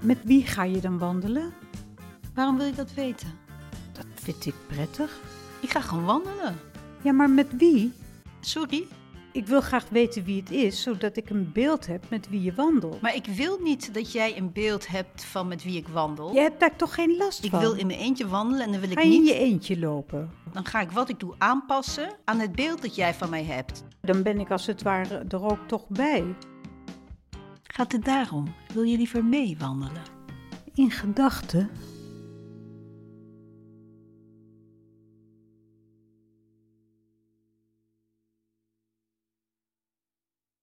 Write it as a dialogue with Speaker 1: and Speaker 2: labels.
Speaker 1: Met wie ga je dan wandelen? Waarom wil je dat weten? Dat vind ik prettig.
Speaker 2: Ik ga gewoon wandelen.
Speaker 1: Ja, maar met wie?
Speaker 2: Sorry,
Speaker 1: Ik wil graag weten wie het is, zodat ik een beeld heb met wie je wandelt.
Speaker 2: maar ik wil niet dat jij een beeld hebt van met wie ik wandel.
Speaker 1: je hebt daar toch geen last
Speaker 2: Ik
Speaker 1: van?
Speaker 2: wil in mijn eentje wandelen en dan wil ik
Speaker 1: Ga je in
Speaker 2: niet.
Speaker 1: je eentje lopen?
Speaker 2: Dan ga ik wat ik doe aanpassen aan het beeld dat jij van mij hebt.
Speaker 1: Dan ben ik als het ware er ook toch bij.
Speaker 2: Gaat het daarom? Wil je liever mee wandelen?
Speaker 1: In gedachten